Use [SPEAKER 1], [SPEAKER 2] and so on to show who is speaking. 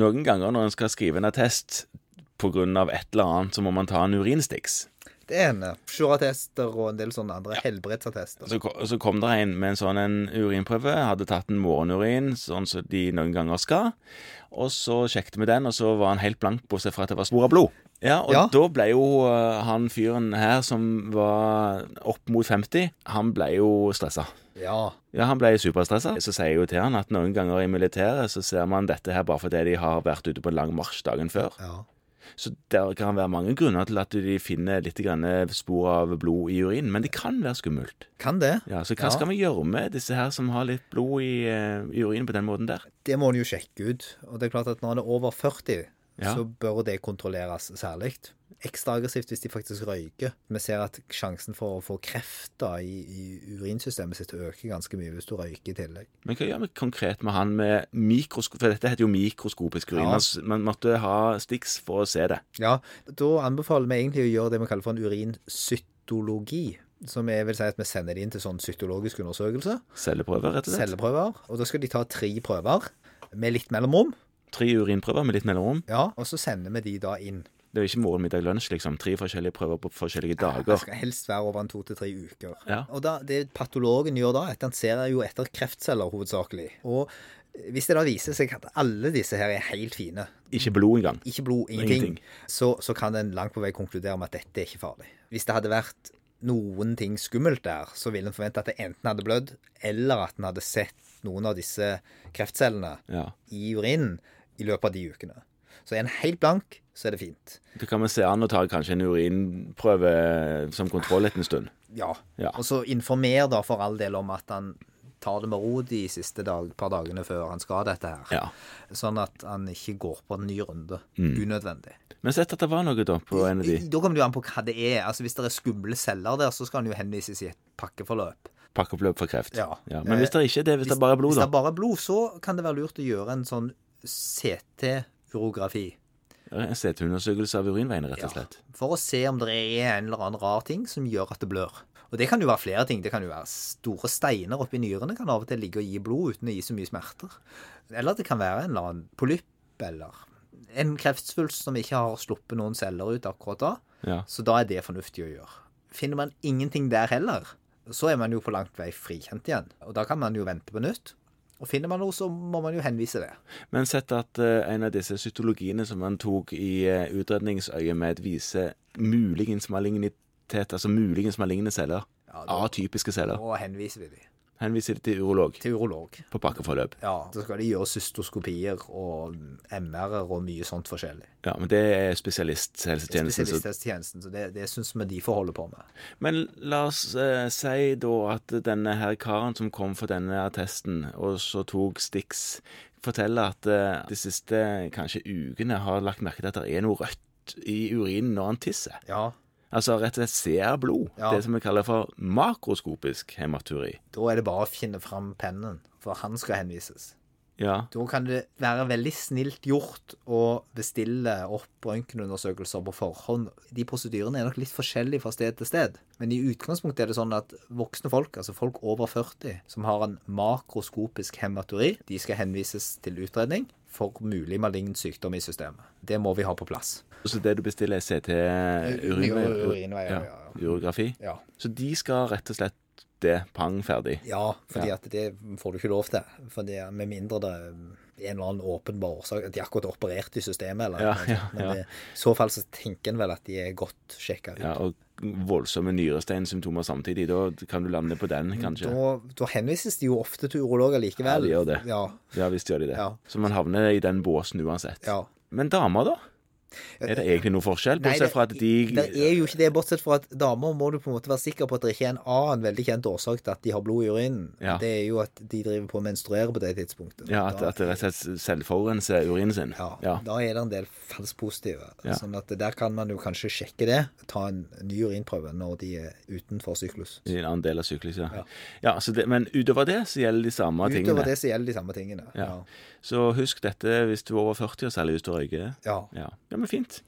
[SPEAKER 1] noen ganger når en skal skrive en attest pga. et eller annet, så må man ta en urinstiks.
[SPEAKER 2] Det ene. Sjurattester og en del sånne andre helbredsattester.
[SPEAKER 1] Så, ko- så kom det en med en sånn en urinprøve, hadde tatt en morgenurin, sånn som de noen ganger skal. Og så sjekket vi den, og så var han helt blank, bortsett fra at det var spor av blod. Ja, Og
[SPEAKER 2] Ja.
[SPEAKER 1] da ble jo eh, han fyren her som var opp mot 50, han ble jo stressa.
[SPEAKER 2] Ja.
[SPEAKER 1] Ja, han ble superstressa. Så sier jeg jo til han at noen ganger i militæret så ser man dette her bare fordi de har vært ute på en lang marsj dagen før.
[SPEAKER 2] ja.
[SPEAKER 1] Så det kan være mange grunner til at de finner litt grann spor av blod i urinen, men det kan være skummelt.
[SPEAKER 2] Kan det.
[SPEAKER 1] Ja, Så hva
[SPEAKER 2] Ja.
[SPEAKER 1] skal vi gjøre med disse her som har litt blod i, eh, i urinen på den måten der?
[SPEAKER 2] Det må en jo sjekke ut. Og det er klart at når en er over 40,
[SPEAKER 1] Ja.
[SPEAKER 2] så bør det kontrolleres særlig. Ekstra aggressivt hvis de faktisk røyker. Vi ser at sjansen for å få kreft da, i, i urinsystemet sitt øker ganske mye hvis du røyker i tillegg.
[SPEAKER 1] Men hva gjør vi konkret med han med mikroskop... For dette heter jo mikroskopisk urin.
[SPEAKER 2] Ja.
[SPEAKER 1] Man s- Man måtte ha stiks for å se det.
[SPEAKER 2] Ja, da anbefaler vi egentlig å gjøre det vi kaller for en urincytologi. Som er, vil si at vi sender det inn til sånn cytologisk undersøkelse.
[SPEAKER 1] Celleprøver, rett og slett.
[SPEAKER 2] Celleprøver. Og da skal de ta tre prøver med litt mellomrom.
[SPEAKER 1] Tre urinprøver med litt mellomrom.
[SPEAKER 2] Ja, og så sender vi de da inn.
[SPEAKER 1] Det er jo ikke morgen, middag, lunsj, liksom. Tre forskjellige prøver på forskjellige
[SPEAKER 2] Det
[SPEAKER 1] dager.
[SPEAKER 2] skal helst være over en to til tre uker.
[SPEAKER 1] Ja.
[SPEAKER 2] Og da, det patologen gjør da, er at han ser jo etter kreftceller hovedsakelig. Og hvis det da viser seg at alle disse her er helt fine,
[SPEAKER 1] Ikke blod engang.
[SPEAKER 2] ikke blod, ingenting,
[SPEAKER 1] Ingenting.
[SPEAKER 2] Så, så kan en langt på vei konkludere med at dette er ikke farlig. Hvis det hadde vært noen ting skummelt der, så ville en forvente at det enten hadde blødd, eller at en hadde sett noen av disse kreftcellene
[SPEAKER 1] Ja.
[SPEAKER 2] i urinen i løpet av de ukene. Så er en helt blank, så er det fint.
[SPEAKER 1] Da kan vi se an og ta kanskje en urinprøve som kontroll etter en stund.
[SPEAKER 2] Ja.
[SPEAKER 1] Ja.
[SPEAKER 2] Og så informer da for all del om at han tar det med ro de siste dag, par dagene før han skal dette her.
[SPEAKER 1] Ja.
[SPEAKER 2] Sånn at han ikke går på en ny runde. Unødvendig.
[SPEAKER 1] Men sett at det var noe da på en av de
[SPEAKER 2] Da kommer det jo an på hva det er. Altså Hvis det er skumle celler der, så skal han jo henvises i et pakkeforløp.
[SPEAKER 1] pakkeoppløp for kreft.
[SPEAKER 2] Ja.
[SPEAKER 1] Men hvis det ikke er det, hvis, det bare er blod,
[SPEAKER 2] Hvis det
[SPEAKER 1] da?
[SPEAKER 2] er bare er blod, så kan det være lurt å gjøre en sånn CT-urografi.
[SPEAKER 1] En CT-undersøkelse av urinveiene, rett og
[SPEAKER 2] Ja,
[SPEAKER 1] slett.
[SPEAKER 2] for å se om det er en eller annen rar ting som gjør at det blør. Og det kan jo være flere ting. Det kan jo være store steiner oppi nyrene kan av og til ligge og gi blod uten å gi så mye smerter. Eller det kan være en eller annen polypp eller en kreftsvulst som ikke har sluppet noen celler ut akkurat da.
[SPEAKER 1] Ja.
[SPEAKER 2] Så da er det fornuftig å gjøre. Finner man ingenting der heller, så er man jo på langt vei frikjent igjen. Og da kan man jo vente på nytt. Og finner man noe, så må man jo henvise det.
[SPEAKER 1] Men sett at eh, en av disse cytologiene som man tok i uh, utredningsøyemed, viser muligens malignitet, altså muligens maligne celler.
[SPEAKER 2] Ja, da-
[SPEAKER 1] Atypiske celler.
[SPEAKER 2] Og henviser vi dem
[SPEAKER 1] Henviser det til urolog
[SPEAKER 2] til urolog.
[SPEAKER 1] på pakkeforløp.
[SPEAKER 2] Ja, så skal de gjøre cystoskopier og MR-er og mye sånt forskjellig.
[SPEAKER 1] Ja, men det er
[SPEAKER 2] Det er
[SPEAKER 1] spesialisthelsetjenesten. som-
[SPEAKER 2] Spesialisthelsetjenesten, så det, det syns vi de får holde på med.
[SPEAKER 1] Men la oss eh, si da at denne her karen som kom for denne attesten, og så tok Stix, forteller at eh, de siste kanskje ukene har lagt merke til at det er noe rødt i urinen når han tisser.
[SPEAKER 2] Ja,
[SPEAKER 1] Altså rett og slett ser blod.
[SPEAKER 2] Ja.
[SPEAKER 1] Det som vi kaller for makroskopisk hematuri.
[SPEAKER 2] da er det bare å finne fram pennen, for han skal henvises.
[SPEAKER 1] Ja.
[SPEAKER 2] Da kan det være veldig snilt gjort å bestille opp røntgenundersøkelser på forhånd. De prosedyrene er nok litt forskjellige fra sted til sted, men i utgangspunktet er det sånn at voksne folk, altså folk over 40, som har en makroskopisk hematuri, de skal henvises til utredning for mulig malign sykdom i systemet. Det må vi ha på plass.
[SPEAKER 1] Så det du bestiller er CT
[SPEAKER 2] Urinveier,
[SPEAKER 1] urinvei-
[SPEAKER 2] urinveier,
[SPEAKER 1] ja,
[SPEAKER 2] ja, ja.
[SPEAKER 1] urografi.
[SPEAKER 2] Ja.
[SPEAKER 1] Så de skal rett og slett det pang ferdig.
[SPEAKER 2] Ja, fordi at det får du ikke lov til. Fordi Med mindre det er en eller annen åpenbar årsak at de akkurat er operert i systemet. Eller,
[SPEAKER 1] Ja,
[SPEAKER 2] noe sånt.
[SPEAKER 1] ja, ja.
[SPEAKER 2] Men det, i så fall så tenker en vel at de er godt sjekka ut.
[SPEAKER 1] Ja, og voldsomme nyresteinsymptomer samtidig. Da kan du lande på den, kanskje.
[SPEAKER 2] Da, da henvises de jo ofte til urologer
[SPEAKER 1] Ja,
[SPEAKER 2] likevel.
[SPEAKER 1] de gjør det.
[SPEAKER 2] Ja,
[SPEAKER 1] Ja visst gjør de det.
[SPEAKER 2] Ja.
[SPEAKER 1] Så man havner i den båsen uansett.
[SPEAKER 2] ja.
[SPEAKER 1] Men damer, da? Er det egentlig noe forskjell?
[SPEAKER 2] Nei,
[SPEAKER 1] Bortsett fra at de
[SPEAKER 2] det er jo ikke det, bortsett fra at damer må du på en måte være sikker på at det ikke er en annen veldig kjent årsak til at de har blod i urinen.
[SPEAKER 1] Ja.
[SPEAKER 2] Det er jo at de driver på og menstruerer på det tidspunktet.
[SPEAKER 1] Ja, at,
[SPEAKER 2] Da-
[SPEAKER 1] at det rett og slett selvforurenser urinen sin.
[SPEAKER 2] Ja, da er det en del falskt positive.
[SPEAKER 1] Ja.
[SPEAKER 2] Sånn at der kan man jo kanskje sjekke det. Ta en ny urinprøve når de er utenfor syklus.
[SPEAKER 1] I en annen del av syklus, ja.
[SPEAKER 2] Ja.
[SPEAKER 1] ja så det, men utover det så gjelder de samme tingene.
[SPEAKER 2] Utover det så gjelder de samme tingene.
[SPEAKER 1] Ja. Så husk dette hvis du er over 40, og særlig hvis du røyker.
[SPEAKER 2] Ja.
[SPEAKER 1] Ja. ja, men fint.